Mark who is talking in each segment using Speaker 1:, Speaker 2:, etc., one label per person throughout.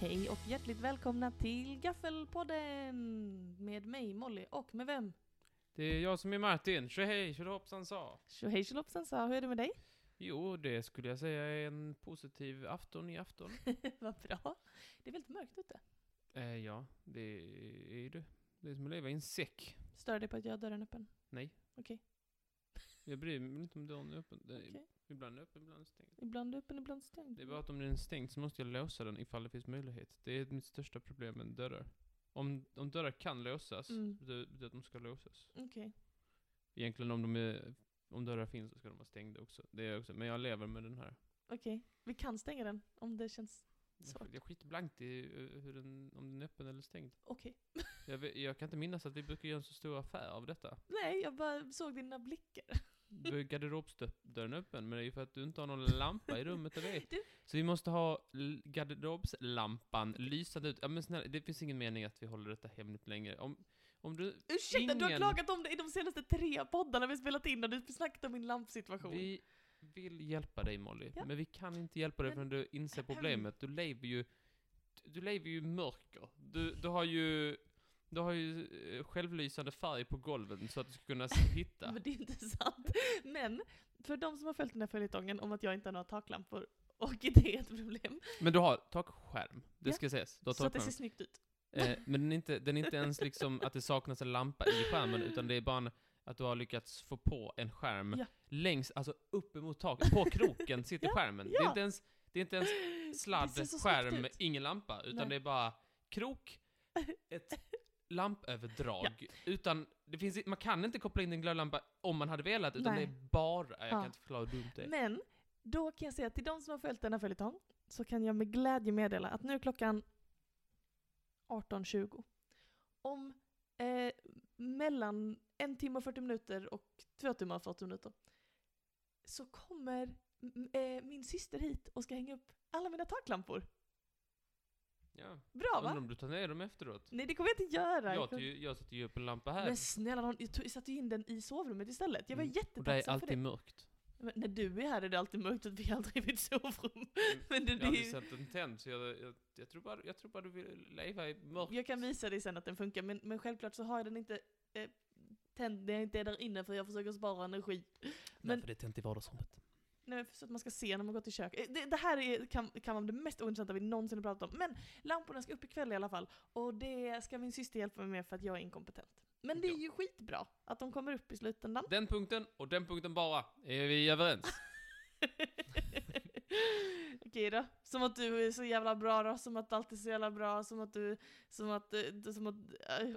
Speaker 1: Hej och hjärtligt välkomna till Gaffelpodden! Med mig Molly och med vem?
Speaker 2: Det är jag som är Martin. Tjohej, tjohoppsan sa.
Speaker 1: Tjohej tjolopsan sa, hur är det med dig?
Speaker 2: Jo, det skulle jag säga är en positiv afton i afton.
Speaker 1: Vad bra! Det är väldigt mörkt ute.
Speaker 2: eh, ja, det är ju det. Det är som att leva i en säck.
Speaker 1: Stör det på att jag har dörren öppen?
Speaker 2: Nej.
Speaker 1: Okej.
Speaker 2: Jag bryr mig inte om dörren är öppen. Det är
Speaker 1: Okej.
Speaker 2: Ibland är öppen, ibland stängd.
Speaker 1: Ibland öppen, ibland stängd.
Speaker 2: Det är bara att om den är stängd så måste jag låsa den ifall det finns möjlighet. Det är mitt största problem med dörrar. Om, om dörrar kan låsas,
Speaker 1: Mm.
Speaker 2: betyder betyder att de ska låsas.
Speaker 1: Okej.
Speaker 2: Egentligen om de är, om dörrar finns så ska de vara stängda också. Det är jag också. Men jag lever med den här.
Speaker 1: Okej. Vi kan stänga den om det känns... Svårt.
Speaker 2: Jag, jag skiter blankt i eh, hur den, om den är öppen eller stängd.
Speaker 1: Okej.
Speaker 2: Jag, vet- jag kan inte minnas att vi brukar göra en så stor affär av detta.
Speaker 1: Nej, jag bara såg dina blickar.
Speaker 2: Då är garderobsdörren öppen, men det är ju för att du inte har någon lampa i rummet och det.
Speaker 1: Du-
Speaker 2: Så vi måste ha l- garderobslampan lysande ut. Ja men snälla, det finns ingen mening att vi håller detta hemligt längre. Om, om du...
Speaker 1: Ursäkta, du har
Speaker 2: Ingen-
Speaker 1: klagat om det i de senaste tre poddarna vi spelat in och du snackat om min lampsituation.
Speaker 2: Vi vill hjälpa dig Molly,
Speaker 1: Ja.
Speaker 2: men vi kan inte hjälpa dig
Speaker 1: Men-
Speaker 2: förrän du inser problemet. Du lever ju... Du lever ju i mörker. Du, du har ju... Du har ju eh, självlysande färg på golven så att du ska kunna s- hitta.
Speaker 1: Men det är ju inte sant. Men, för de som har följt den här följetongen om att jag inte har några taklampor, och det är ett problem,
Speaker 2: Men du har takskärm, det
Speaker 1: Ja.
Speaker 2: ska sägas. Du har
Speaker 1: så att det ser
Speaker 2: takskärm.
Speaker 1: snyggt ut.
Speaker 2: Eh, men den är, inte, den är inte ens liksom att det saknas en lampa i skärmen, utan det är bara en, att du har lyckats få på en skärm
Speaker 1: Ja.
Speaker 2: längs, alltså uppemot taket, på kroken sitter
Speaker 1: Ja,
Speaker 2: skärmen. Det, är
Speaker 1: ja.
Speaker 2: inte ens, det är inte ens sladd,
Speaker 1: Det ser så snyggt
Speaker 2: skärm,
Speaker 1: ut.
Speaker 2: ingen lampa, utan
Speaker 1: Nej.
Speaker 2: det är bara krok, ett lampöverdrag. Utan, det finns, i- man kan inte koppla in en glödlampa om man hade velat, utan
Speaker 1: Nej.
Speaker 2: det är bara, jag
Speaker 1: Ja.
Speaker 2: kan inte förklara hur dumt det är.
Speaker 1: Men, då kan jag säga till de som har följt denna följetong, så kan jag med glädje meddela att nu är klockan 18.20. Om eh, mellan en timme och 40 minuter och två timmar och 40 minuter så kommer mm, eh, min syster hit och ska hänga upp alla mina taklampor.
Speaker 2: Ja.
Speaker 1: Bra
Speaker 2: Undrar
Speaker 1: va?
Speaker 2: om du tar ner dem efteråt?
Speaker 1: Nej det kommer jag inte göra.
Speaker 2: Jag, tar ju- jag sätter ju upp en lampa här.
Speaker 1: Men snälla nån, jag tog- jag satte ju in den i sovrummet istället. Jag var
Speaker 2: Mm. Och det är
Speaker 1: jättetacksam för
Speaker 2: alltid
Speaker 1: det.
Speaker 2: mörkt.
Speaker 1: Men när du är här är det alltid mörkt och vi är aldrig i mitt sovrum.
Speaker 2: Mm.
Speaker 1: Men det,
Speaker 2: Jag
Speaker 1: det
Speaker 2: har
Speaker 1: är
Speaker 2: aldrig
Speaker 1: ju,
Speaker 2: sett den tänd, så jag, jag, jag, tror bara, jag tror bara du vill leva i mörkt.
Speaker 1: jag kan visa dig sen att den funkar, men, men självklart så har jag den inte eh, tänd när jag inte är där inne för jag försöker spara energi. men-
Speaker 2: Därför det är tänt i vardagsrummet.
Speaker 1: Nej, men så att man ska se när man går till köket. Eh, Det, det här är, kan, kan vara det mest ointressanta vi någonsin har pratat om. Men lamporna ska upp ikväll i alla fall. Och det ska min syster hjälpa mig med för att jag är inkompetent. Men det är
Speaker 2: Ja.
Speaker 1: ju skitbra att de kommer upp i slutändan.
Speaker 2: Den punkten och den punkten bara. Är vi överens?
Speaker 1: Okej då. Som att du är så jävla bra då, som att allt är så jävla bra, som att du... Som att... eh, du- Som att... eh,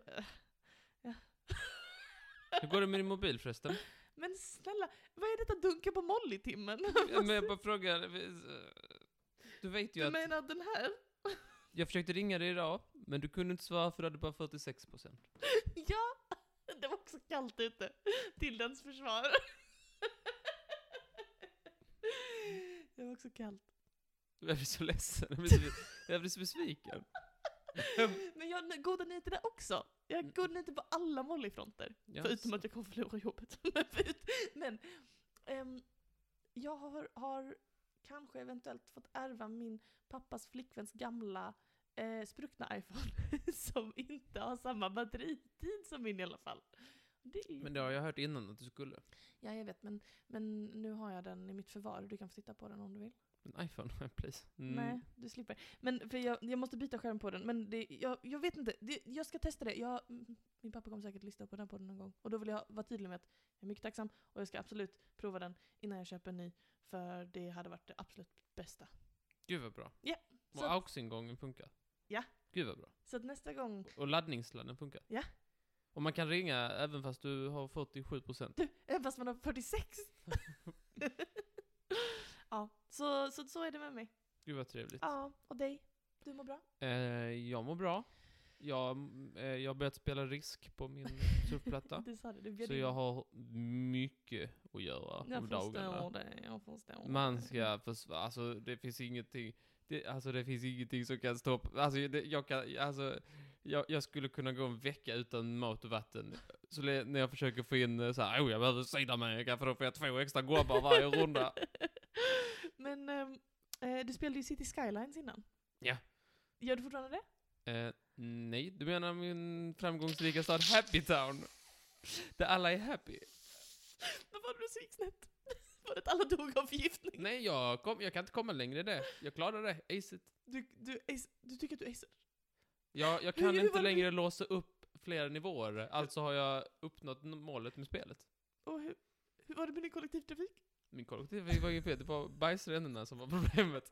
Speaker 1: eh.
Speaker 2: Hur går det med din mobil förresten?
Speaker 1: Men snälla, vad är detta dunka på Molly-timmen?
Speaker 2: Ja, Men jag bara frågar. eh, Du vet ju
Speaker 1: Du
Speaker 2: att
Speaker 1: menar den här?
Speaker 2: jag försökte ringa dig idag, men du kunde inte svara för du hade bara 46%.
Speaker 1: Ja! Det var också kallt ute, till dens försvar. Det var också kallt.
Speaker 2: Jag blir så ledsen, jag blir så, jag blir så besviken.
Speaker 1: Men jag har goda nyheter där också. Jag
Speaker 2: Mm.
Speaker 1: har goda nyheter på alla Molly-fronter.
Speaker 2: Ja,
Speaker 1: Förutom
Speaker 2: så-
Speaker 1: att jag kommer förlora jobbet. Men förut- Men ehm, jag har, har kanske eventuellt fått ärva min pappas flickväns gamla eh, spruckna iPhone som inte har samma batteritid som min i alla fall. Det är...
Speaker 2: Men det har jag hört innan att du skulle.
Speaker 1: Ja, jag vet, men, men nu har jag den i mitt förvar. Du kan få titta på den om du vill.
Speaker 2: En iPhone, please. Mm.
Speaker 1: Nej, du slipper. Men för jag, jag måste byta skärm på den. Men det, jag, jag vet inte. Det, jag ska testa det. Jag, mm, min pappa kommer säkert lyssna på den här podden någon gång. Och då vill jag vara tydlig med att jag är mycket tacksam och jag ska absolut prova den innan jag köper en ny. För det hade varit det absolut bästa.
Speaker 2: Gud vad bra.
Speaker 1: Ja, så-
Speaker 2: Och AUX-ingången funkar.
Speaker 1: Ja.
Speaker 2: Gud vad bra.
Speaker 1: Så att nästa gång...
Speaker 2: Och laddningssladden funkar.
Speaker 1: Ja.
Speaker 2: Och man kan ringa även fast du har 47%.
Speaker 1: Du, även eh, fast man har 46! ja, så, så, så är det med mig.
Speaker 2: Gud vad trevligt.
Speaker 1: Ja, och dig? Du mår bra?
Speaker 2: Eh, jag mår bra. Jag, mm, eh, jag har börjat spela Risk på min surfplatta.
Speaker 1: Du sa det, du bjöd
Speaker 2: så
Speaker 1: in
Speaker 2: jag
Speaker 1: mig.
Speaker 2: har mycket att göra om
Speaker 1: Jag förstår
Speaker 2: dagarna.
Speaker 1: det, jag förstår
Speaker 2: Man
Speaker 1: det.
Speaker 2: ska försvara, alltså det finns ingenting, det, alltså det finns ingenting som kan stoppa, alltså det, jag kan, alltså jag, jag skulle kunna gå en vecka utan mat och vatten. Så le, när jag försöker få in eh, så här, oh jag behöver Sydamerika för då får jag två extra gobbar varje runda.
Speaker 1: Men ehm, eh, du spelade ju City Skylines innan.
Speaker 2: Ja.
Speaker 1: Gör du fortfarande det?
Speaker 2: Eh, nej, du menar min framgångsrika stad Happy Town? Där alla är happy?
Speaker 1: Men var det så gick snett? Var det att alla dog av förgiftning?
Speaker 2: Nej, jag, kom, jag kan inte komma längre i det. Jag klarar det, acet.
Speaker 1: Du, du, ace- du tycker att du acer?
Speaker 2: Jag, jag
Speaker 1: Hur
Speaker 2: kan
Speaker 1: var
Speaker 2: inte
Speaker 1: det-
Speaker 2: längre låsa upp flera nivåer, alltså har jag uppnått n- målet med spelet.
Speaker 1: Och hur, hur var det med din kollektivtrafik?
Speaker 2: Min kollektiv var inget fel, det var bajsrännorna som var problemet.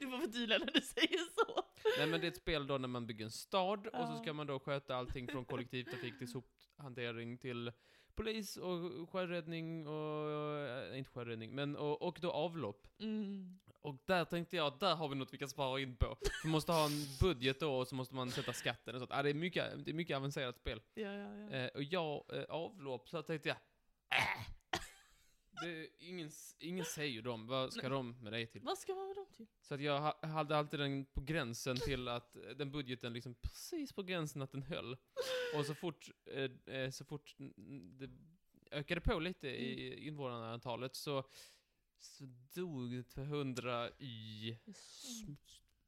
Speaker 1: Du får förtydliga när du säger så.
Speaker 2: Nej men det är ett spel då när man bygger en stad och så ska
Speaker 1: Ja.
Speaker 2: man då sköta allting från kollektivtrafik till sophantering till polis och sjöräddning och, eh, inte sjöräddning, men och, och då avlopp.
Speaker 1: Mm.
Speaker 2: Och där tänkte jag, där har vi något vi kan spara in på. Vi måste ha en budget då och så måste man sätta skatten och sånt. Ja, det, är mycket, det är mycket avancerat spel.
Speaker 1: Ja, ja, ja.
Speaker 2: Eh, och jag, eh, avlopp, så tänkte jag, äh. det är ingen, s- ingen säger ju dem, vad ska
Speaker 1: Nej.
Speaker 2: de med dig till?
Speaker 1: Vad ska man med dem till?
Speaker 2: Så att jag ha, hade alltid den på gränsen till att, eh, den budgeten liksom precis på gränsen att den höll. Och så fort, eh, eh, så fort mm, det ökade på lite i invånarantalet så, så dog det 200 i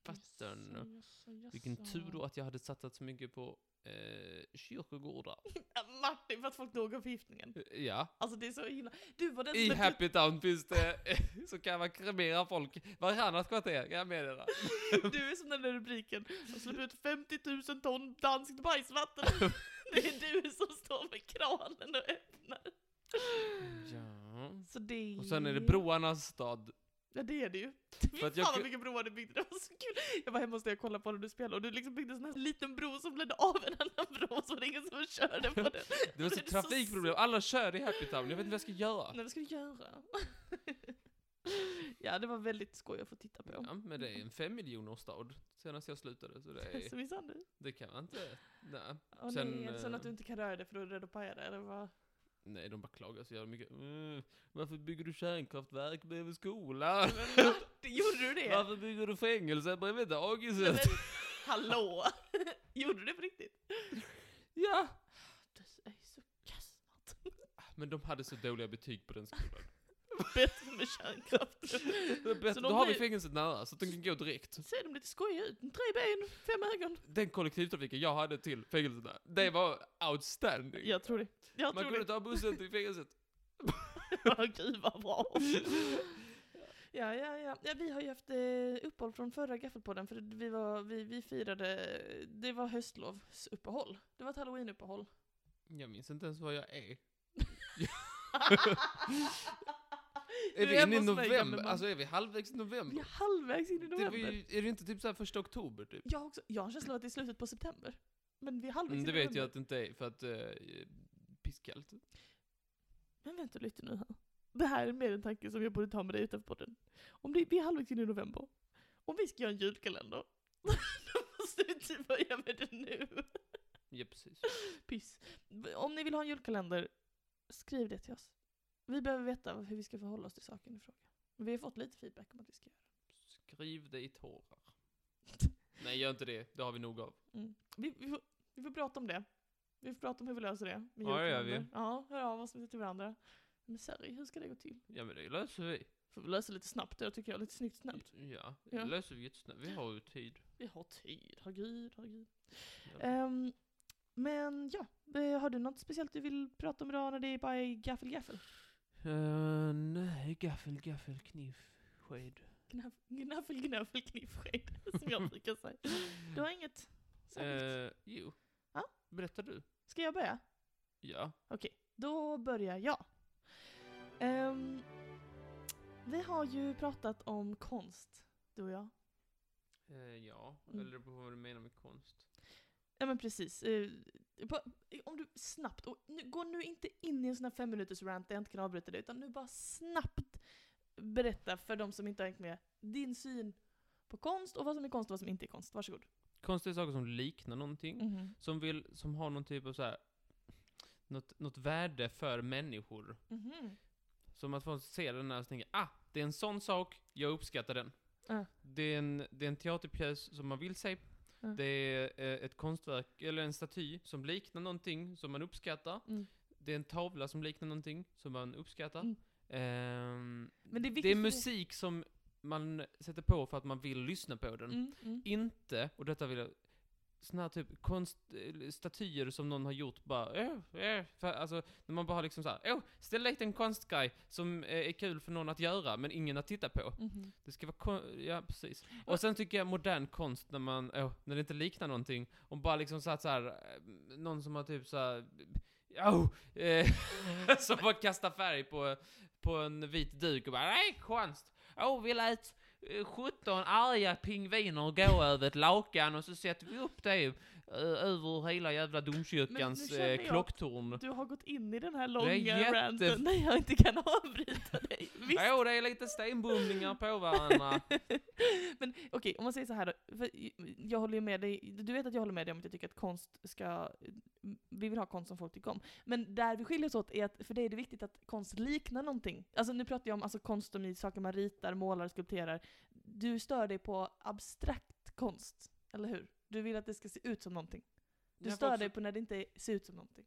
Speaker 2: vatten.
Speaker 1: Mm,
Speaker 2: Vilken tur då att jag hade satsat så mycket på eh, kyrkogårdar.
Speaker 1: Martin, för att folk dog av förgiftningen.
Speaker 2: Ja.
Speaker 1: Alltså det är så himla... Du var den
Speaker 2: I
Speaker 1: som...
Speaker 2: Happy Town finns det, eh, så kan man kremera folk varannat kvarter, kan jag meddela.
Speaker 1: Du är som den där rubriken. De släpper ut 50 000 ton danskt bajsvatten. Det är du som står med kranen och öppnar.
Speaker 2: Ja.
Speaker 1: Så det...
Speaker 2: Och sen är det broarnas stad.
Speaker 1: Ja det är det ju. Fy
Speaker 2: att jag
Speaker 1: fan vad
Speaker 2: ku-
Speaker 1: mycket broar du byggde, det var så kul! Jag var hemma hos dig och kollade på när du spelade och du liksom byggde en sån här liten bro som ledde av en annan bro så var det ingen som körde på den.
Speaker 2: Det var så
Speaker 1: Det är så
Speaker 2: trafikproblem, alla kör i Happy Town, jag vet inte vad jag ska göra.
Speaker 1: Nej vad ska du göra? ja det var väldigt skoj att få titta på.
Speaker 2: Ja, men det är en femmiljonersstad senast jag slutade, så det,
Speaker 1: Så
Speaker 2: är,
Speaker 1: visst hade du?
Speaker 2: det kan man inte. Nej.
Speaker 1: Åh
Speaker 2: Sen,
Speaker 1: nej,
Speaker 2: eh,
Speaker 1: sen att du inte kan röra dig för du är rädd att paja dig, eller vad?
Speaker 2: Nej, de bara klagar så jävla mycket. Mm, varför bygger du kärnkraftverk bredvid skolan?
Speaker 1: Men Martin, gjorde du det?
Speaker 2: Varför bygger du fängelse bredvid
Speaker 1: Nej,
Speaker 2: dagiset?
Speaker 1: men, hallå! gjorde du det på riktigt?
Speaker 2: Ja!
Speaker 1: Du är så kass
Speaker 2: Men de hade så dåliga betyg på den skolan.
Speaker 1: Bättre med kärnkraft.
Speaker 2: Det är bättre,
Speaker 1: de
Speaker 2: då har vi
Speaker 1: blir-
Speaker 2: fängelset nära, så att de kan gå direkt.
Speaker 1: Ser de lite skojiga ut? Tre ben, fem ögon.
Speaker 2: Den kollektivtrafiken jag hade till fängelset där, det var outstanding.
Speaker 1: Jag tror det. Jag
Speaker 2: Man
Speaker 1: tror det.
Speaker 2: kunde ta bussen till fängelset.
Speaker 1: Ja, Gud vad bra. Ja, ja, ja. ja, vi har ju haft eh, uppehåll från förra gaffelpodden för vi, var, vi, vi firade, det var höstlovsuppehåll. Det var ett halloweenuppehåll.
Speaker 2: Jag minns inte ens vad jag är.
Speaker 1: Du
Speaker 2: Är vi inne i
Speaker 1: hemma hos mig, gamle
Speaker 2: november?
Speaker 1: man.
Speaker 2: Alltså är vi halvvägs i november?
Speaker 1: Vi är halvvägs in i
Speaker 2: Det är,
Speaker 1: november.
Speaker 2: vi, är det inte typ såhär första oktober typ?
Speaker 1: Jag, har också, jag har en känsla av att det är slutet på september. Men vi är halvvägs
Speaker 2: Mm,
Speaker 1: in
Speaker 2: det
Speaker 1: i
Speaker 2: vet jag
Speaker 1: november.
Speaker 2: att det inte är för att eh, pisskallt.
Speaker 1: Men vänta lite nu här. Det här är mer en tanke som jag borde ta med dig utanför podden. Om det, vi är halvvägs in i november, om vi ska göra en julkalender, då måste vi typ börja med det nu.
Speaker 2: Ja precis.
Speaker 1: Piss. Om ni vill ha en julkalender, skriv det till oss. Vi behöver veta hur vi ska förhålla oss till saken i fråga. Men vi har fått lite feedback om att vi ska göra
Speaker 2: Skriv det i tårar. Nej gör inte det, det har vi nog av.
Speaker 1: det. Mm. Vi, vi, får, vi får prata om det. Vi får prata om hur vi löser det. med
Speaker 2: Ja, det gör vi.
Speaker 1: julkalender. Ja, hör av oss till varandra. Men Sari, hur ska det gå till?
Speaker 2: Ja men det löser vi.
Speaker 1: Får vi lösa lite snabbt det tycker jag, lite snyggt snabbt.
Speaker 2: Ja, det
Speaker 1: Ja.
Speaker 2: löser vi jättesnabbt. Vi har ju tid.
Speaker 1: Vi har tid, herregud, herregud.
Speaker 2: Ja.
Speaker 1: Ehm, men ja, eh, har du något speciellt du vill prata om idag när det bara är gaffel gaffel?
Speaker 2: Eh, nej, gaffel, gaffel, kniv, sked.
Speaker 1: Gnaff, gnaffel gnaffel kniffsked, som jag brukar säga. Du har inget särskilt?
Speaker 2: Eh, jo.
Speaker 1: Ja.
Speaker 2: Berättar du?
Speaker 1: Ska jag börja?
Speaker 2: Ja.
Speaker 1: Okej, då börjar jag. Ehm, vi har ju pratat om konst, du och jag.
Speaker 2: Eh, ja,
Speaker 1: Mm.
Speaker 2: eller det beror på vad du menar med konst.
Speaker 1: Ja men precis. Eh, på- Om du snabbt, och nu, gå nu inte in i en sån här fem minuters rant där jag inte kan avbryta dig, utan nu bara snabbt berätta för de som inte har hängt med din syn på konst och vad som är konst och vad som inte är konst. Varsågod.
Speaker 2: Konst är saker som liknar någonting,
Speaker 1: mm
Speaker 2: som, vill, som har någon typ av så här, något, något värde för människor. Mm-hmm. Som att folk ser den här och tänker ah, det är en sån sak, jag uppskattar den.
Speaker 1: Ja.
Speaker 2: Det, är en, det är en teaterpjäs som man vill se.
Speaker 1: Ja.
Speaker 2: Det är eh, ett konstverk, eller en staty, som liknar någonting som man uppskattar.
Speaker 1: Mm.
Speaker 2: Det är en tavla som liknar någonting som man uppskattar.
Speaker 1: Mm.
Speaker 2: Ehm,
Speaker 1: Men det är viktigt
Speaker 2: det
Speaker 1: för
Speaker 2: är
Speaker 1: dig.
Speaker 2: musik som man sätter på för att man vill lyssna på den.
Speaker 1: Mm, mm.
Speaker 2: Inte, och detta vill jag, såna här typ konst, eh, statyer som någon har gjort bara, eh, eh, för, alltså, när man bara har liksom såhär, åh, ställ dit en konstgrej som eh, är kul för någon att göra, men ingen att titta på.
Speaker 1: Mhm.
Speaker 2: Det ska vara kon- ja precis. Och sen tycker jag modern konst när man, åh, när det inte liknar någonting, och bara liksom så att så här, eh, någon som har typ så här, oh, eh, som bara kastar färg på, på en vit duk och bara, nej konst, åh vi lät eh, 17 arga pingviner gå över ett lakan och så sätter vi upp det eh, över hela jävla
Speaker 1: Men
Speaker 2: domkyrkans
Speaker 1: nu känner
Speaker 2: eh,
Speaker 1: jag-
Speaker 2: klocktorn.
Speaker 1: Du har gått in i den här
Speaker 2: är jätte-
Speaker 1: långa ranten där jag inte kan avbryta dig. Visst,
Speaker 2: Åh, det är lite stenbumlingar på varandra.
Speaker 1: Men okej, om man säger så här då. För jag håller ju med dig, du vet att jag håller med dig om att jag tycker att konst ska, mm, vi vill ha konst som folk tycker om. Men där vi skiljer oss åt är att för dig är det viktigt att konst liknar någonting. Alltså nu pratar jag om alltså, konst som i saker man ritar, målar, skulpterar. Du stör dig på abstrakt konst, eller hur? Du vill att det ska se ut som någonting. Du
Speaker 2: Ja,
Speaker 1: stör
Speaker 2: folk-
Speaker 1: dig på när det inte ser ut som någonting.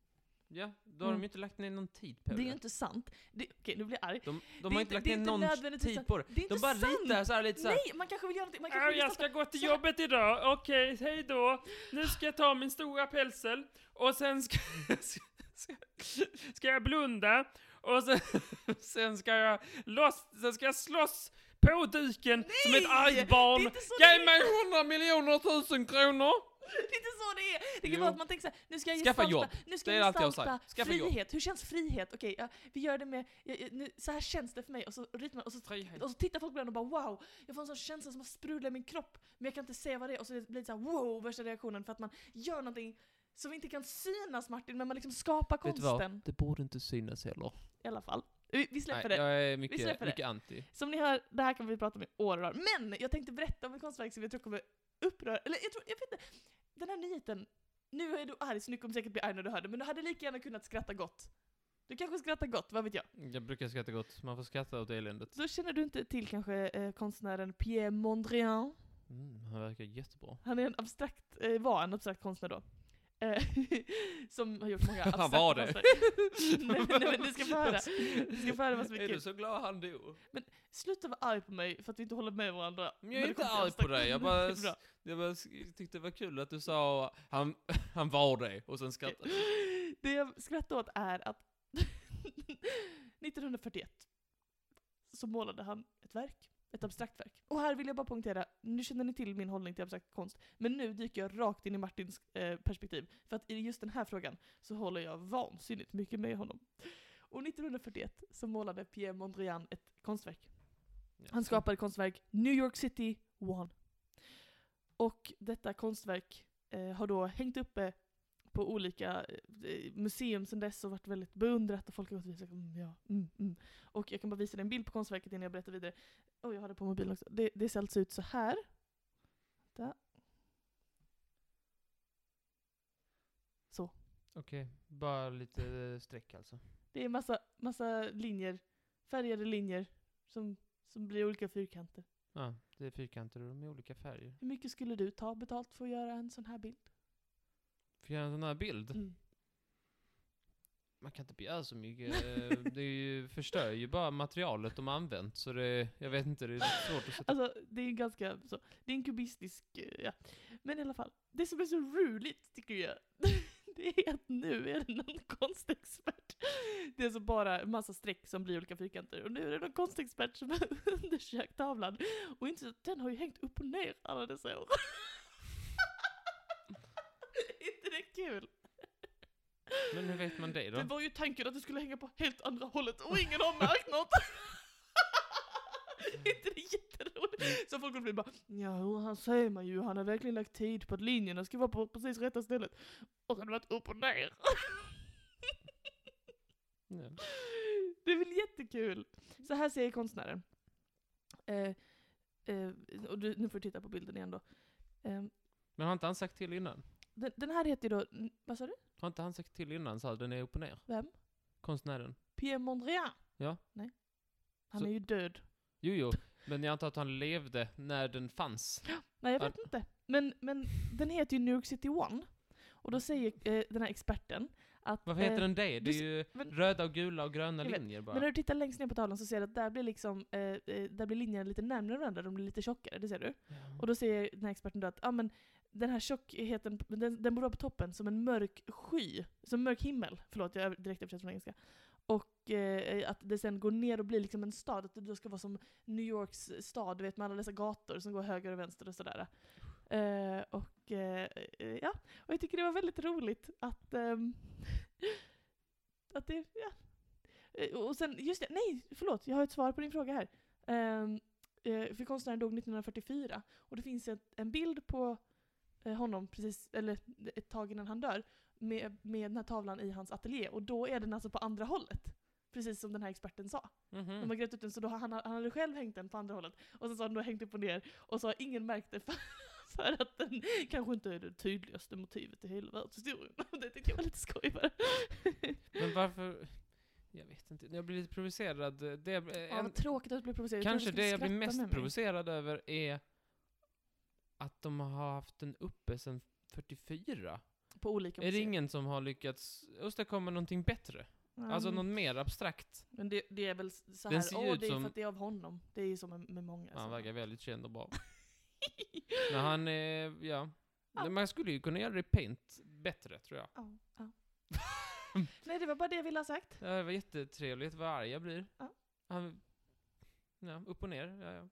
Speaker 2: Ja, då har de
Speaker 1: Mm.
Speaker 2: ju inte lagt ner någon tid på
Speaker 1: Det
Speaker 2: det.
Speaker 1: är ju inte sant. Det- Okej, nu blir jag arg.
Speaker 2: De, de
Speaker 1: Det
Speaker 2: har
Speaker 1: är inte-
Speaker 2: inte lagt
Speaker 1: det
Speaker 2: ner
Speaker 1: är inte
Speaker 2: någon
Speaker 1: nödvändigtvis
Speaker 2: tid
Speaker 1: sant.
Speaker 2: på det.
Speaker 1: Det är inte
Speaker 2: De bara
Speaker 1: sant.
Speaker 2: ritar såhär lite såhär.
Speaker 1: Nej, man kanske vill göra någonting. Man kanske vill
Speaker 2: Äh, jag
Speaker 1: lyssna
Speaker 2: ska gå till
Speaker 1: så här-
Speaker 2: jobbet idag, okej, hej då. Nu ska jag ta min stora pälsel och sen ska, ska, ska jag blunda och sen, sen ska jag loss, sen ska jag slåss på duken som ett
Speaker 1: det är
Speaker 2: argt
Speaker 1: på-
Speaker 2: barn.
Speaker 1: Det är inte så det
Speaker 2: Ge
Speaker 1: är.
Speaker 2: mig 100 miljoner tusen kronor!
Speaker 1: Det är inte så det är! Det kan
Speaker 2: Jo.
Speaker 1: vara att man tänker såhär, nu ska jag
Speaker 2: Skaffa
Speaker 1: gestalta,
Speaker 2: jobb.
Speaker 1: nu ska
Speaker 2: Det är
Speaker 1: jag
Speaker 2: allt jag har
Speaker 1: gestalta
Speaker 2: sagt. Skaffa jobb.
Speaker 1: frihet. Hur känns frihet? Okej, ja, vi gör det med, ja, ja, nu, så här känns det för mig. Och så ritar man, och så,
Speaker 2: Frihet.
Speaker 1: och så tittar folk på den och bara wow, jag får en sån känsla som att sprudla i min kropp. Men jag kan inte se vad det är. Och så blir det såhär wow, värsta reaktionen för att man gör någonting som inte kan synas Martin, men man liksom skapar konsten.
Speaker 2: Det borde inte synas heller.
Speaker 1: I alla fall. Vi, vi släpper det.
Speaker 2: jag är
Speaker 1: mycket- släpper det. mycket
Speaker 2: anti.
Speaker 1: Som ni hör, det här kan vi prata om i år och dagar. Men jag tänkte berätta om en konstverk som jag tror kommer uppröra, eller jag tror, jag vet inte. Den här nyheten, nu är du arg så nu kommer säkert bli arg när du hör det, men du hade lika gärna kunnat skratta gott. Du kanske skrattar gott, vad vet jag?
Speaker 2: Jag brukar skratta gott, man får skratta åt eländet.
Speaker 1: Så känner du inte till kanske eh, konstnären Pierre Mondrian?
Speaker 2: Mm, han verkar jättebra.
Speaker 1: Han är en abstrakt, eh, var en abstrakt konstnär då. Eh, som har gjort många
Speaker 2: Han
Speaker 1: abstrakta
Speaker 2: var det.
Speaker 1: konstverk. nej, men- nej men du ska få höra. Du ska få höra vad som är
Speaker 2: Är du
Speaker 1: kul.
Speaker 2: så glad han dog?
Speaker 1: Sluta vara arg på mig för att vi inte håller med varandra.
Speaker 2: Men jag är
Speaker 1: när det
Speaker 2: inte
Speaker 1: kommer till
Speaker 2: arg på
Speaker 1: abstrakt-
Speaker 2: dig, jag
Speaker 1: Det
Speaker 2: bara,
Speaker 1: är bra.
Speaker 2: jag bara sk- tyckte det var kul att du sa han, han var det, och sen skrattade du.
Speaker 1: Det jag skrattar åt är att 1941 så målade han ett verk, ett abstrakt verk. Och här vill jag bara poängtera, nu känner ni till min hållning till abstrakt konst, men nu dyker jag rakt in i Martins eh, perspektiv. För att i just den här frågan så håller jag vansinnigt mycket med honom. Och 1941 så målade Pierre Mondrian ett konstverk.
Speaker 2: Ja.
Speaker 1: Han skapade konstverk New York City One. Och detta konstverk eh, har då hängt uppe på olika eh, museum sedan dess och varit väldigt beundrat och folk har gått och sagt mm, ja, mm, mm. Och jag kan bara visa dig en bild på konstverket innan jag berättar vidare. Oj, jag har det på mobilen också. Det, det ser alltså ut så här. Där. Så.
Speaker 2: Okej, bara lite eh, streck alltså.
Speaker 1: Det är massa, massa linjer, färgade linjer som, som blir olika fyrkanter.
Speaker 2: Ja, det är fyrkanter och de är olika färger.
Speaker 1: Hur mycket skulle du ta betalt för att göra en sån här bild?
Speaker 2: Får jag göra en sån här bild?
Speaker 1: Mm.
Speaker 2: Man kan inte begära så mycket. eh, Det är ju, förstör ju bara materialet de har använt, så det, jag vet inte, det är lite svårt att sätta...
Speaker 1: Alltså, det är ganska så. Det är en kubistisk, eh, ja. Men i alla fall, det som är så roligt tycker jag, det är att nu är det någon konstexpert. Det är alltså bara en massa streck som blir olika fyrkanter. Och nu är det någon konstexpert som har undersökt tavlan. Och inte, den har ju hängt upp och ner alla dessa år. Är inte det kul?
Speaker 2: Men hur vet man det
Speaker 1: Det
Speaker 2: då?
Speaker 1: var ju tanken att det skulle hänga på helt andra hållet och ingen har märkt något. Är inte det
Speaker 2: Mm.
Speaker 1: jätteroligt? Så folk blir bara ja, jo, han säger man ju, han har verkligen lagt tid på att linjerna ska vara på precis rätta stället. Och så har det varit upp och ner.
Speaker 2: Ja.
Speaker 1: Det är väl jättekul? Så här säger konstnären. Eh, eh, och du, nu får du titta på bilden igen då. Eh,
Speaker 2: Men har inte han sagt till innan?
Speaker 1: den, den här heter ju då, vad sa du?
Speaker 2: Har inte han sagt till innan så här, den är upp och ner?
Speaker 1: Vem?
Speaker 2: Konstnären?
Speaker 1: Pierre Mondrian?
Speaker 2: Ja.
Speaker 1: Nej. Han
Speaker 2: Så-
Speaker 1: är ju död.
Speaker 2: Jo, jo, men jag antar att han levde när den fanns.
Speaker 1: Nej, jag
Speaker 2: Ja.
Speaker 1: vet inte. Men, men den heter ju New York City One. Och då säger eh, den här experten Att,
Speaker 2: Varför heter
Speaker 1: eh,
Speaker 2: den det? Det
Speaker 1: du
Speaker 2: är
Speaker 1: s-
Speaker 2: ju
Speaker 1: men-
Speaker 2: röda och gula och gröna
Speaker 1: Jag vet,
Speaker 2: linjer bara.
Speaker 1: Men när du tittar längst ner på tavlan så ser du att där blir, liksom, eh, eh, där blir linjerna lite närmare varandra, de blir lite tjockare, det ser du. Och då säger den här experten då att ah, men, den här tjockheten, den, den borde vara på toppen som en mörk sky, som en mörk himmel. Förlåt, jag över- direkt översätter från engelska. Och eh, att det sen går ner och blir liksom en stad, att det då ska vara som New Yorks stad, du vet med alla dessa gator som går höger och vänster och sådär. Eh, och eh, eh, ja, och jag tycker det var väldigt roligt att, ehm, att det, ja. Eh, Och sen, just det, nej förlåt, jag har ett svar på din fråga här. Ehm, eh, för konstnären dog 1944 och det finns ett, en bild på eh, honom precis, eller ett tag innan han dör, med, med den här tavlan i hans ateljé. Och då är den alltså på andra hållet. Precis som den här experten sa.
Speaker 2: Mhm.
Speaker 1: De har grävt ut den så då har han, han hade själv hängt den på andra hållet. Och sen så har den då hängt upp och ner och så har ingen märkt det för, för att den kanske inte är det tydligaste motivet i hela världshistorien. Och det tyckte jag var lite skoj bara.
Speaker 2: Men varför... Jag vet inte. Jag blir lite provocerad. Det, jag-
Speaker 1: Ja,
Speaker 2: en,
Speaker 1: vad tråkigt att bli provocerad. Jag
Speaker 2: kanske
Speaker 1: trodde
Speaker 2: det
Speaker 1: du
Speaker 2: jag
Speaker 1: skulle
Speaker 2: blir
Speaker 1: skratta med
Speaker 2: mest
Speaker 1: mig.
Speaker 2: provocerad över är att de har haft den uppe sedan 44.
Speaker 1: På olika
Speaker 2: Är det
Speaker 1: museer.
Speaker 2: ingen som har lyckats åstadkomma någonting bättre?
Speaker 1: Mm.
Speaker 2: Alltså något mer abstrakt?
Speaker 1: Men det, det är väl så
Speaker 2: Den
Speaker 1: här,
Speaker 2: ser ju
Speaker 1: åh
Speaker 2: ut
Speaker 1: det är
Speaker 2: som-
Speaker 1: för att det är av honom. Det är ju som med, med många.
Speaker 2: Han
Speaker 1: sådana.
Speaker 2: verkar väldigt känd och bra. Men han är... Ja.
Speaker 1: Ja.
Speaker 2: Man skulle ju kunna göra det i paint bättre, tror jag.
Speaker 1: Ja, ja. Nej, det var bara det jag ville ha sagt.
Speaker 2: Det här var jättetrevligt. Vad arg jag blir.
Speaker 1: Ja.
Speaker 2: Han, ja, upp och ner. Ja,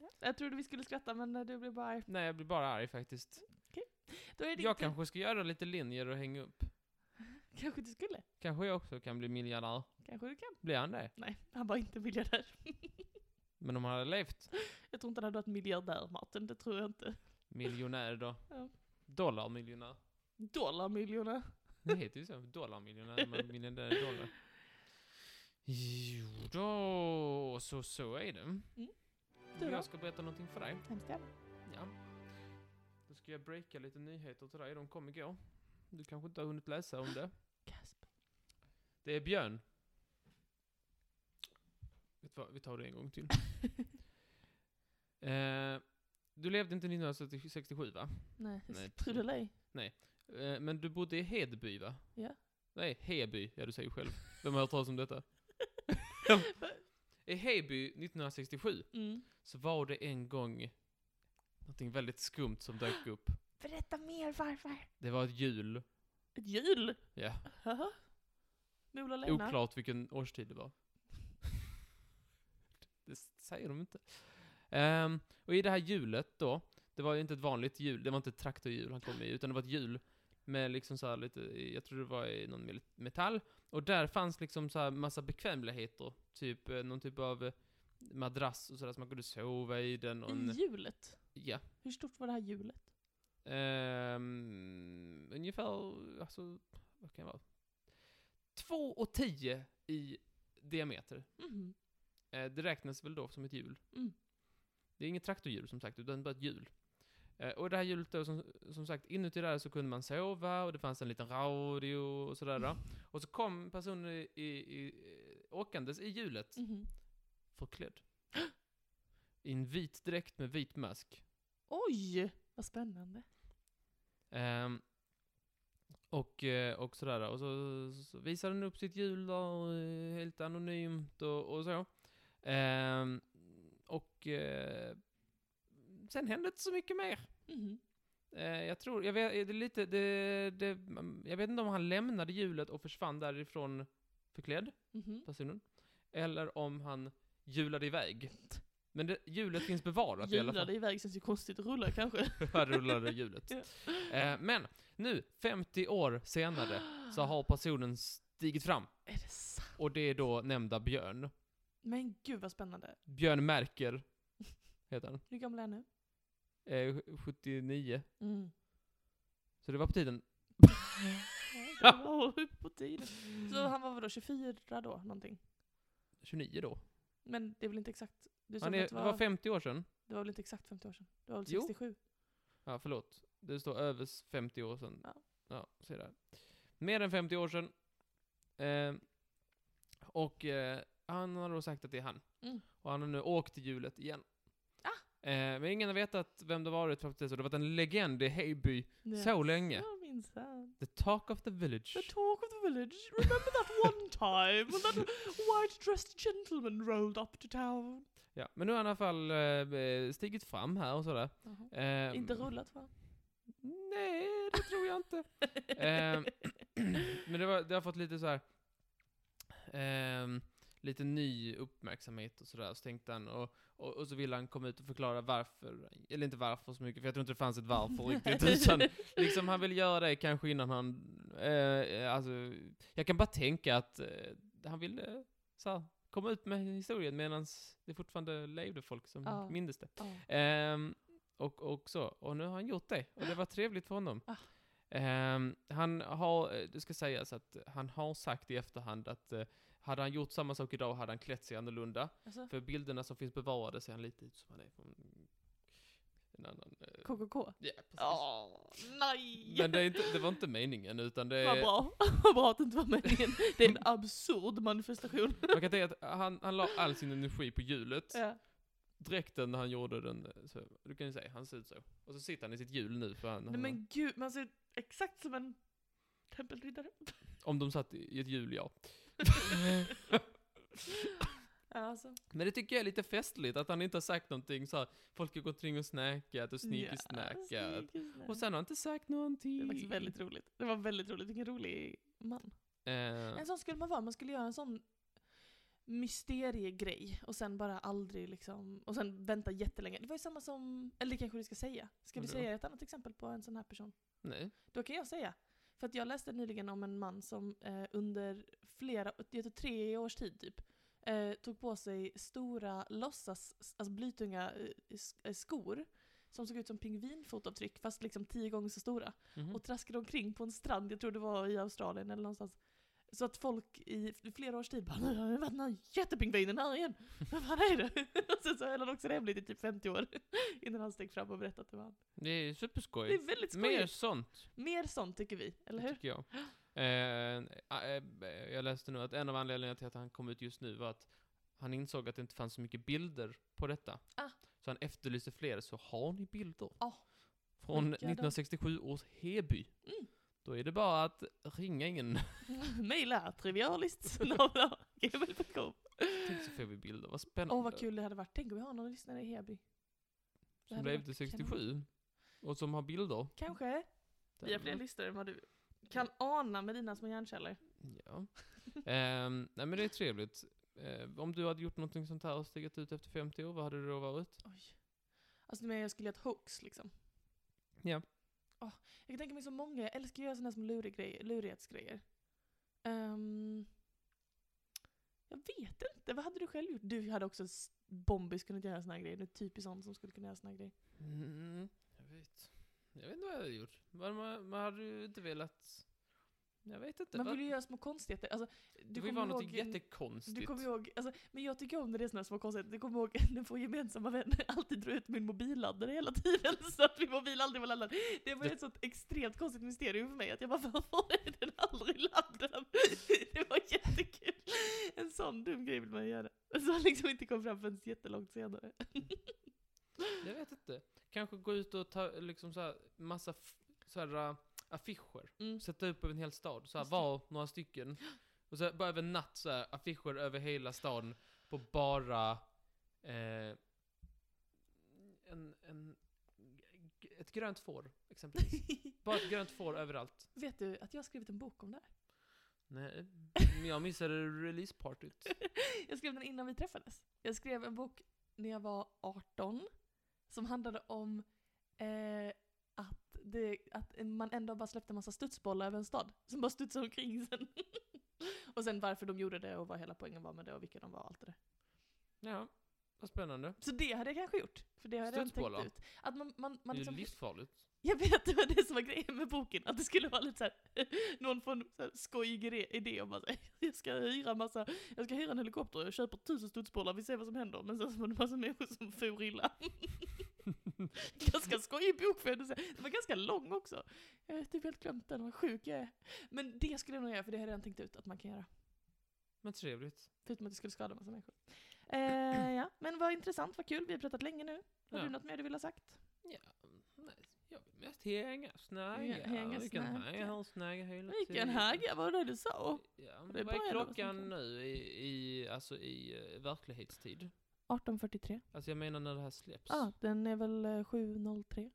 Speaker 2: ja.
Speaker 1: Jag trodde vi skulle skratta, men eh, du blev bara arg.
Speaker 2: Nej, jag blir bara arg faktiskt.
Speaker 1: Då är det
Speaker 2: Jag
Speaker 1: inte...
Speaker 2: kanske ska göra lite linjer och hänga upp.
Speaker 1: kanske du skulle.
Speaker 2: Kanske jag också kan bli miljardär.
Speaker 1: Kanske du kan.
Speaker 2: Blir han det?
Speaker 1: Nej, han var inte miljardär.
Speaker 2: Men om han hade levt
Speaker 1: Jag tror inte han hade varit miljardär, Martin. Det tror jag inte.
Speaker 2: miljonär då?
Speaker 1: Ja.
Speaker 2: Dollarmiljonär.
Speaker 1: Dollarmiljoner.
Speaker 2: Det heter ju så. Dollarmiljonär. Man miljardär är dollar. Jo då, så så är det.
Speaker 1: Mm. Du då?
Speaker 2: Jag ska berätta någonting för dig.
Speaker 1: Hemskt gärna.
Speaker 2: Ja. Då ska jag breaka lite nyheter till dig. De kom igår. Du kanske inte har hunnit läsa om det.
Speaker 1: Gasp.
Speaker 2: Det är Björn. Vet du vad, vi tar det en gång till. eh, du levde inte 1967 va?
Speaker 1: Nej,
Speaker 2: Nej,
Speaker 1: tror du eller ej.
Speaker 2: Eh, men du bodde i Hedby va?
Speaker 1: Ja.
Speaker 2: Nej, Heby. Ja, du säger själv. Vem har hört talas om detta? I Heby 1967
Speaker 1: Mm.
Speaker 2: så var det en gång någonting väldigt skumt som dök upp.
Speaker 1: Berätta mer varför.
Speaker 2: Det var ett hjul.
Speaker 1: Ett jul?
Speaker 2: Ja.
Speaker 1: Haha. Med Ola Lena?
Speaker 2: Oklart vilken årstid det var. det säger de inte. Ehm, och i det här hjulet då, det var ju inte ett vanligt hjul, det var inte ett traktorhjul han kom i, utan det var ett hjul med liksom så här lite, jag tror det var i någon mil- metall, och där fanns liksom så här massa bekvämligheter, typ eh, någon typ av eh, madrass och sådär som man kunde sova i den och
Speaker 1: I
Speaker 2: en,
Speaker 1: hjulet?
Speaker 2: ja.
Speaker 1: Hur stort var det här hjulet?
Speaker 2: Ehm, ungefär, alltså, vad kan det vara? 2 och 10 i diameter.
Speaker 1: Mhm.
Speaker 2: Eh, det räknas väl då som ett hjul.
Speaker 1: Mm.
Speaker 2: Det är inget traktorhjul som sagt, utan bara ett hjul. Eh, och det här hjulet då, som, som sagt, inuti där så kunde man sova och det fanns en liten radio och sådär. då. Och så kom personen i, i, i, åkandes i hjulet,
Speaker 1: Mhm.
Speaker 2: förklädd. I en vit dräkt med vit mask.
Speaker 1: Oj! Vad spännande.
Speaker 2: Ehm, och, eh, och sådär. Och så, så visade den upp sitt hjul då, och, eh, helt anonymt och, och så. Ehm, och eh, sen hände inte så mycket mer.
Speaker 1: Mhm.
Speaker 2: Eh, jag tror, jag vet, det är lite, det, det, mm, jag vet inte om han lämnade hjulet och försvann därifrån förklädd,
Speaker 1: Mhm.
Speaker 2: personen. Eller om han hjulade iväg. Men det, hjulet finns bevarat i alla fall.
Speaker 1: Hjulade iväg känns ju konstigt att rulla kanske.
Speaker 2: Här rullade hjulet. Eh, men nu, 50 år senare, så har personen stigit fram.
Speaker 1: Är det sant?
Speaker 2: Och det är då nämnda Björn.
Speaker 1: Men gud vad spännande.
Speaker 2: Björn Merker heter han.
Speaker 1: Hur gammal är jag nu?
Speaker 2: Eh, sj- 79.
Speaker 1: Mm.
Speaker 2: Så det var på tiden.
Speaker 1: Ja, det var upp på tiden. Så han var väl då 24 då, någonting?
Speaker 2: 29 då.
Speaker 1: Men det är väl inte exakt? Du sa
Speaker 2: Han
Speaker 1: väl
Speaker 2: är,
Speaker 1: att
Speaker 2: det var 50 år sedan.
Speaker 1: det var väl inte exakt 50 år sedan? Det var väl
Speaker 2: Jo.
Speaker 1: 67?
Speaker 2: Ja, förlåt. Det står över s- 50 år sedan.
Speaker 1: Ja.
Speaker 2: Ja, se där. Mer än 50 år sedan. Eh, och eh, han har då sagt att det är han.
Speaker 1: Mm.
Speaker 2: Och han har nu åkt till hjulet igen.
Speaker 1: Ah.
Speaker 2: Eh, men ingen har vetat vem det varit fram till dess. Och det har varit en legend i Hejby
Speaker 1: Nej.
Speaker 2: så länge.
Speaker 1: Jag minns Inside.
Speaker 2: The talk of the village.
Speaker 1: The talk of the village. Remember that one time when that white-dressed gentleman rolled up to town?
Speaker 2: ja, men nu har han i alla fall eh, stigit fram här och sådär. Ehm,
Speaker 1: Inte rullat va?
Speaker 2: Nej, det tror jag inte. Ehm, men det, var, det har fått lite så här. ehm, lite ny uppmärksamhet och sådär, så tänkte han. Och, och, och så ville han komma ut och förklara varför, eller inte varför så mycket, för jag tror inte det fanns ett varför riktigt. Utan liksom han vill göra det kanske innan han, eh, alltså, jag kan bara tänka att eh, han ville eh, så här, komma ut med historien medan det fortfarande levde folk som
Speaker 1: Ja.
Speaker 2: mindes det.
Speaker 1: Ja.
Speaker 2: Ehm, och, och så. Och nu har han gjort det. Och det var trevligt för honom.
Speaker 1: Ah.
Speaker 2: Ehm, han har, eh, det ska sägas att han har sagt i efterhand att eh, hade han gjort samma sak idag hade han klätt sig annorlunda.
Speaker 1: Alltså,
Speaker 2: För bilderna som finns bevarade ser han lite ut som han är från en annan... eh,
Speaker 1: KKK.
Speaker 2: ja, precis.
Speaker 1: Ja, nej!
Speaker 2: Men det, är inte, det var inte meningen, utan det
Speaker 1: Vad
Speaker 2: är...
Speaker 1: bra. Vad bra att det inte var meningen. Det är en absurd manifestation.
Speaker 2: Man kan säga att han, han la all sin energi på hjulet.
Speaker 1: Ja.
Speaker 2: Dräkten när han gjorde den, eh, så, du kan ju säga, han ser ut så. Och så sitter han i sitt hjul nu för han...
Speaker 1: Nej men gud, man ser exakt som en tempelriddare.
Speaker 2: Om de satt i i ett hjul, ja.
Speaker 1: Ja, alltså.
Speaker 2: Men det tycker jag är lite festligt att han inte har sagt någonting så här, Folk har gått kring och snackat och
Speaker 1: Ja,
Speaker 2: sneakesnackat.
Speaker 1: sneakesnack.
Speaker 2: och sen har han inte sagt
Speaker 1: Det
Speaker 2: någonting.
Speaker 1: är faktiskt väldigt roligt. Det var väldigt roligt. Vilken rolig man.
Speaker 2: Eh,
Speaker 1: En sån skulle man vara. Man skulle göra en sån mysteriegrej och sen bara aldrig liksom, och sen vänta jättelänge. Det var ju samma som, eller det kanske du ska säga. Ska du
Speaker 2: Vadå?
Speaker 1: säga ett annat exempel på en sån här person?
Speaker 2: nej.
Speaker 1: Då kan jag säga. För att jag läste nyligen om en man som eh, under flera, jag tror tre års tid typ, eh, tog på sig stora låtsas, alltså blytunga eh, s- eh, skor som såg ut som pingvinfotavtryck fast liksom tio gånger så stora.
Speaker 2: Mhm.
Speaker 1: Och traskade omkring på en strand, jag tror det var i Australien eller någonstans. Så att folk i f- flera års tid bara "Nu har det varit den här jättepingvinen här igen! Vad fan är det?” Och sen så höll han också det hemligt i typ 50 år innan han steg fram och berättade att det var han.
Speaker 2: Det är superskoj.
Speaker 1: Det är väldigt
Speaker 2: Mer
Speaker 1: skojigt.
Speaker 2: sånt,
Speaker 1: Mer sånt tycker vi, eller hur?
Speaker 2: tycker jag. Eh, eh, jag läste nu att en av anledningarna till att han kom ut just nu var att han insåg att det inte fanns så mycket bilder på detta.
Speaker 1: Ah.
Speaker 2: Så han efterlyste fler, så har ni bilder?
Speaker 1: Ja.
Speaker 2: Från
Speaker 1: Skicka dem.
Speaker 2: 1967 års Heby.
Speaker 1: Mm.
Speaker 2: Då är det bara att ringa in.
Speaker 1: Maila trivialist.gmail.com
Speaker 2: Tänk så får vi bilder, vad spännande.
Speaker 1: Åh vad kul det hade varit. Tänk om vi har någon lyssnare i Heby. Det
Speaker 2: Som
Speaker 1: hade
Speaker 2: blev
Speaker 1: varit
Speaker 2: till 67. Och som har bilder. Mm,
Speaker 1: Kanske. Vi har fler lyssnare än vad du kan ana med dina små hjärnceller.
Speaker 2: Ja. Ehm, nej men det är trevligt. Ehm, om du hade gjort någonting sånt här och stigit ut efter 50 år, vad hade det då varit?
Speaker 1: Oj. Alltså men jag skulle göra ett hoax liksom.
Speaker 2: Ja.
Speaker 1: Åh, jag kan tänka mig så många, jag älskar att göra sådana här små lurig grejer, lurighetsgrejer. Ehm, jag vet inte, vad hade du själv gjort? Du hade också s- bombis kunnat göra såna här grejer. Du är typiskt sån som skulle kunna göra såna här grejer.
Speaker 2: Mm, jag vet. Jag vet inte vad jag hade gjort. Man, man, man hade ju inte velat... Jag vet inte.
Speaker 1: Man
Speaker 2: vad-
Speaker 1: vill ju göra små konstigheter. Alltså,
Speaker 2: det
Speaker 1: du
Speaker 2: var ju
Speaker 1: kommer
Speaker 2: vara något
Speaker 1: ihåg-
Speaker 2: jättekonstigt.
Speaker 1: Du kommer ihåg, alltså, men jag tycker om när det är såna här små konstigheter. Du kommer ihåg när vår gemensamma vän alltid drar ut min mobilladdare hela tiden så att min mobil aldrig var laddad. Det var
Speaker 2: Det-
Speaker 1: ett sånt extremt konstigt mysterium för mig att jag bara varför är den aldrig laddad? Det var jättekul. En sån dum grej vill man göra. Som liksom inte kom fram förrän jättelångt senare.
Speaker 2: Jag vet inte. Kanske gå ut och ta liksom så här massa f- så här, äh, affischer.
Speaker 1: Mm.
Speaker 2: Sätta upp över en hel stad. Så här,
Speaker 1: Just det.
Speaker 2: var några stycken. Och så här, bara över en natt så här, affischer över hela staden på bara eh, en, en, g- ett grönt får, exempelvis. bara ett grönt får överallt.
Speaker 1: Vet du att jag har skrivit en bok om det här?
Speaker 2: Nej, men jag missade releasepartyt.
Speaker 1: Jag skrev den innan vi träffades. Jag skrev en bok när jag var 18 som handlade om eh, att, det, att en- man en dag bara släppte en massa studsbollar över en stad som bara studsade omkring sen. och sen varför de gjorde det och vad hela poängen var med det och vilka de var och allt det där.
Speaker 2: Ja, vad spännande.
Speaker 1: Så det hade jag kanske gjort. För det hade jag redan
Speaker 2: Studsbollar?
Speaker 1: tänkt ut. Att man, man, man
Speaker 2: det är ju
Speaker 1: liksom,
Speaker 2: livsfarligt.
Speaker 1: jag vet, det var det som var grejen med boken. Att det skulle vara lite såhär, någon får en så här skojig idé- idé om bara så här, jag ska hyra massa, jag ska hyra en helikopter, jag köper tusen studsbollar, vi ser vad som händer. Men sen så var det massa människor som for illa. ganska skojig bok för att säga. Den var ganska lång också. Jag har typ helt glömt den, vad sjuk jag är. Men det skulle jag nog göra, för det har jag redan tänkt ut att man kan göra.
Speaker 2: Men trevligt.
Speaker 1: Förutom att det skulle skada massa människor. Eh, ja. Men vad intressant, vad kul, vi har pratat länge nu. Har
Speaker 2: Ja.
Speaker 1: du något mer du vill ha sagt?
Speaker 2: Ja, nej. Jag vill mest hänga, snagga.
Speaker 1: Ja, hänga,
Speaker 2: Vilken
Speaker 1: snagga.
Speaker 2: hagga, hon snagga hela
Speaker 1: Vilken hagga, vad var det du sa?
Speaker 2: Ja,
Speaker 1: Det är
Speaker 2: men vad
Speaker 1: bara
Speaker 2: är
Speaker 1: en av oss
Speaker 2: klockan
Speaker 1: som
Speaker 2: nu i, i, alltså i eh, verklighetstid?
Speaker 1: 18.43.
Speaker 2: Alltså jag menar när det här släpps.
Speaker 1: Ja, ah, den är väl eh, 7.03.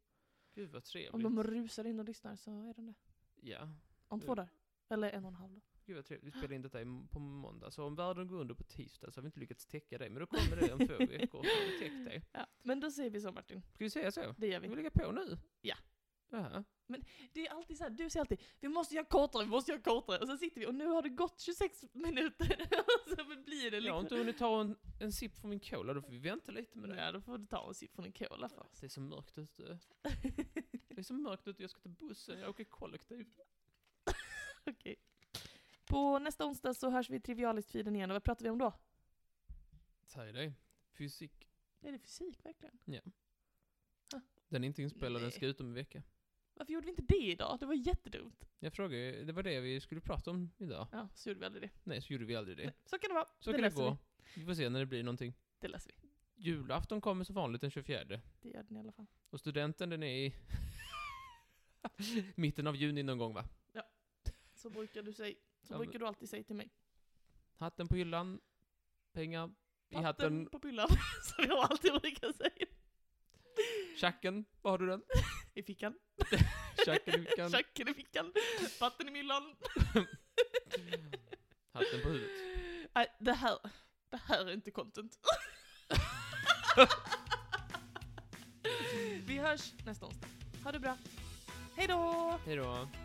Speaker 2: Gud vad trevligt.
Speaker 1: Om de rusar in och lyssnar så är den det.
Speaker 2: Ja.
Speaker 1: Om två dagar. Eller en och en halv dag.
Speaker 2: Gud vad trevligt. Vi spelar in detta i- på måndag. Så om världen går under på tisdag så har vi inte lyckats täcka det. Men då kommer det om två veckor. Så har vi täckt det.
Speaker 1: Ja, men då säger vi så Martin.
Speaker 2: Ska vi säga så?
Speaker 1: Det gör
Speaker 2: Ska
Speaker 1: vi.
Speaker 2: vi lägga på nu?
Speaker 1: Ja.
Speaker 2: Jaha.
Speaker 1: Mm. Det är alltid så här, du säger alltid vi måste göra kortare, vi måste göra kortare. Och så sitter vi och nu har det gått 26 minuter. Och så blir det
Speaker 2: Jag har
Speaker 1: liksom...
Speaker 2: inte hunnit ta en, en sipp från min cola. Då får vi vänta lite med det.
Speaker 1: Ja, då får du ta en sipp från en cola först.
Speaker 2: Det är så mörkt ute. Det är så mörkt ute. Jag ska till bussen. Jag åker kollektivt.
Speaker 1: Okej. På nästa onsdag så hörs vi i Trivialist-feeden igen. Och vad pratar vi om då?
Speaker 2: Säg det. Fysik.
Speaker 1: Är det fysik verkligen?
Speaker 2: Den är inte inspelad. Den
Speaker 1: Nej.
Speaker 2: ska ut om en vecka.
Speaker 1: Varför gjorde vi inte det idag? Det var jättedumt.
Speaker 2: Jag frågade ju- Det var det vi skulle prata om idag.
Speaker 1: Ja, så gjorde vi aldrig det.
Speaker 2: Nej, så gjorde vi aldrig det.
Speaker 1: Nej, Så kan det vara.
Speaker 2: Så kan det
Speaker 1: löser
Speaker 2: gå.
Speaker 1: Vi.
Speaker 2: Vi får se när det blir någonting.
Speaker 1: Det löser vi.
Speaker 2: Julafton kommer som vanligt den 24.
Speaker 1: Det gör den i alla fall.
Speaker 2: Och studenten den är i mitten av juni någon gång va?
Speaker 1: Så brukar du säga. Så
Speaker 2: Ja, men-
Speaker 1: brukar du alltid säga till mig.
Speaker 2: Hatten på hyllan, pengar i hatten,
Speaker 1: på pillan. Som jag alltid brukar säga.
Speaker 2: tjacken, var har du den?
Speaker 1: I fickan.
Speaker 2: Tjacken i fickan.
Speaker 1: Tjacken i fickan. Vatten i myllan.
Speaker 2: Hatten på huvudet.
Speaker 1: Nej, det här. Det här är inte content. vi hörs nästa onsdag. Ha det bra. Hej då!
Speaker 2: Hej då.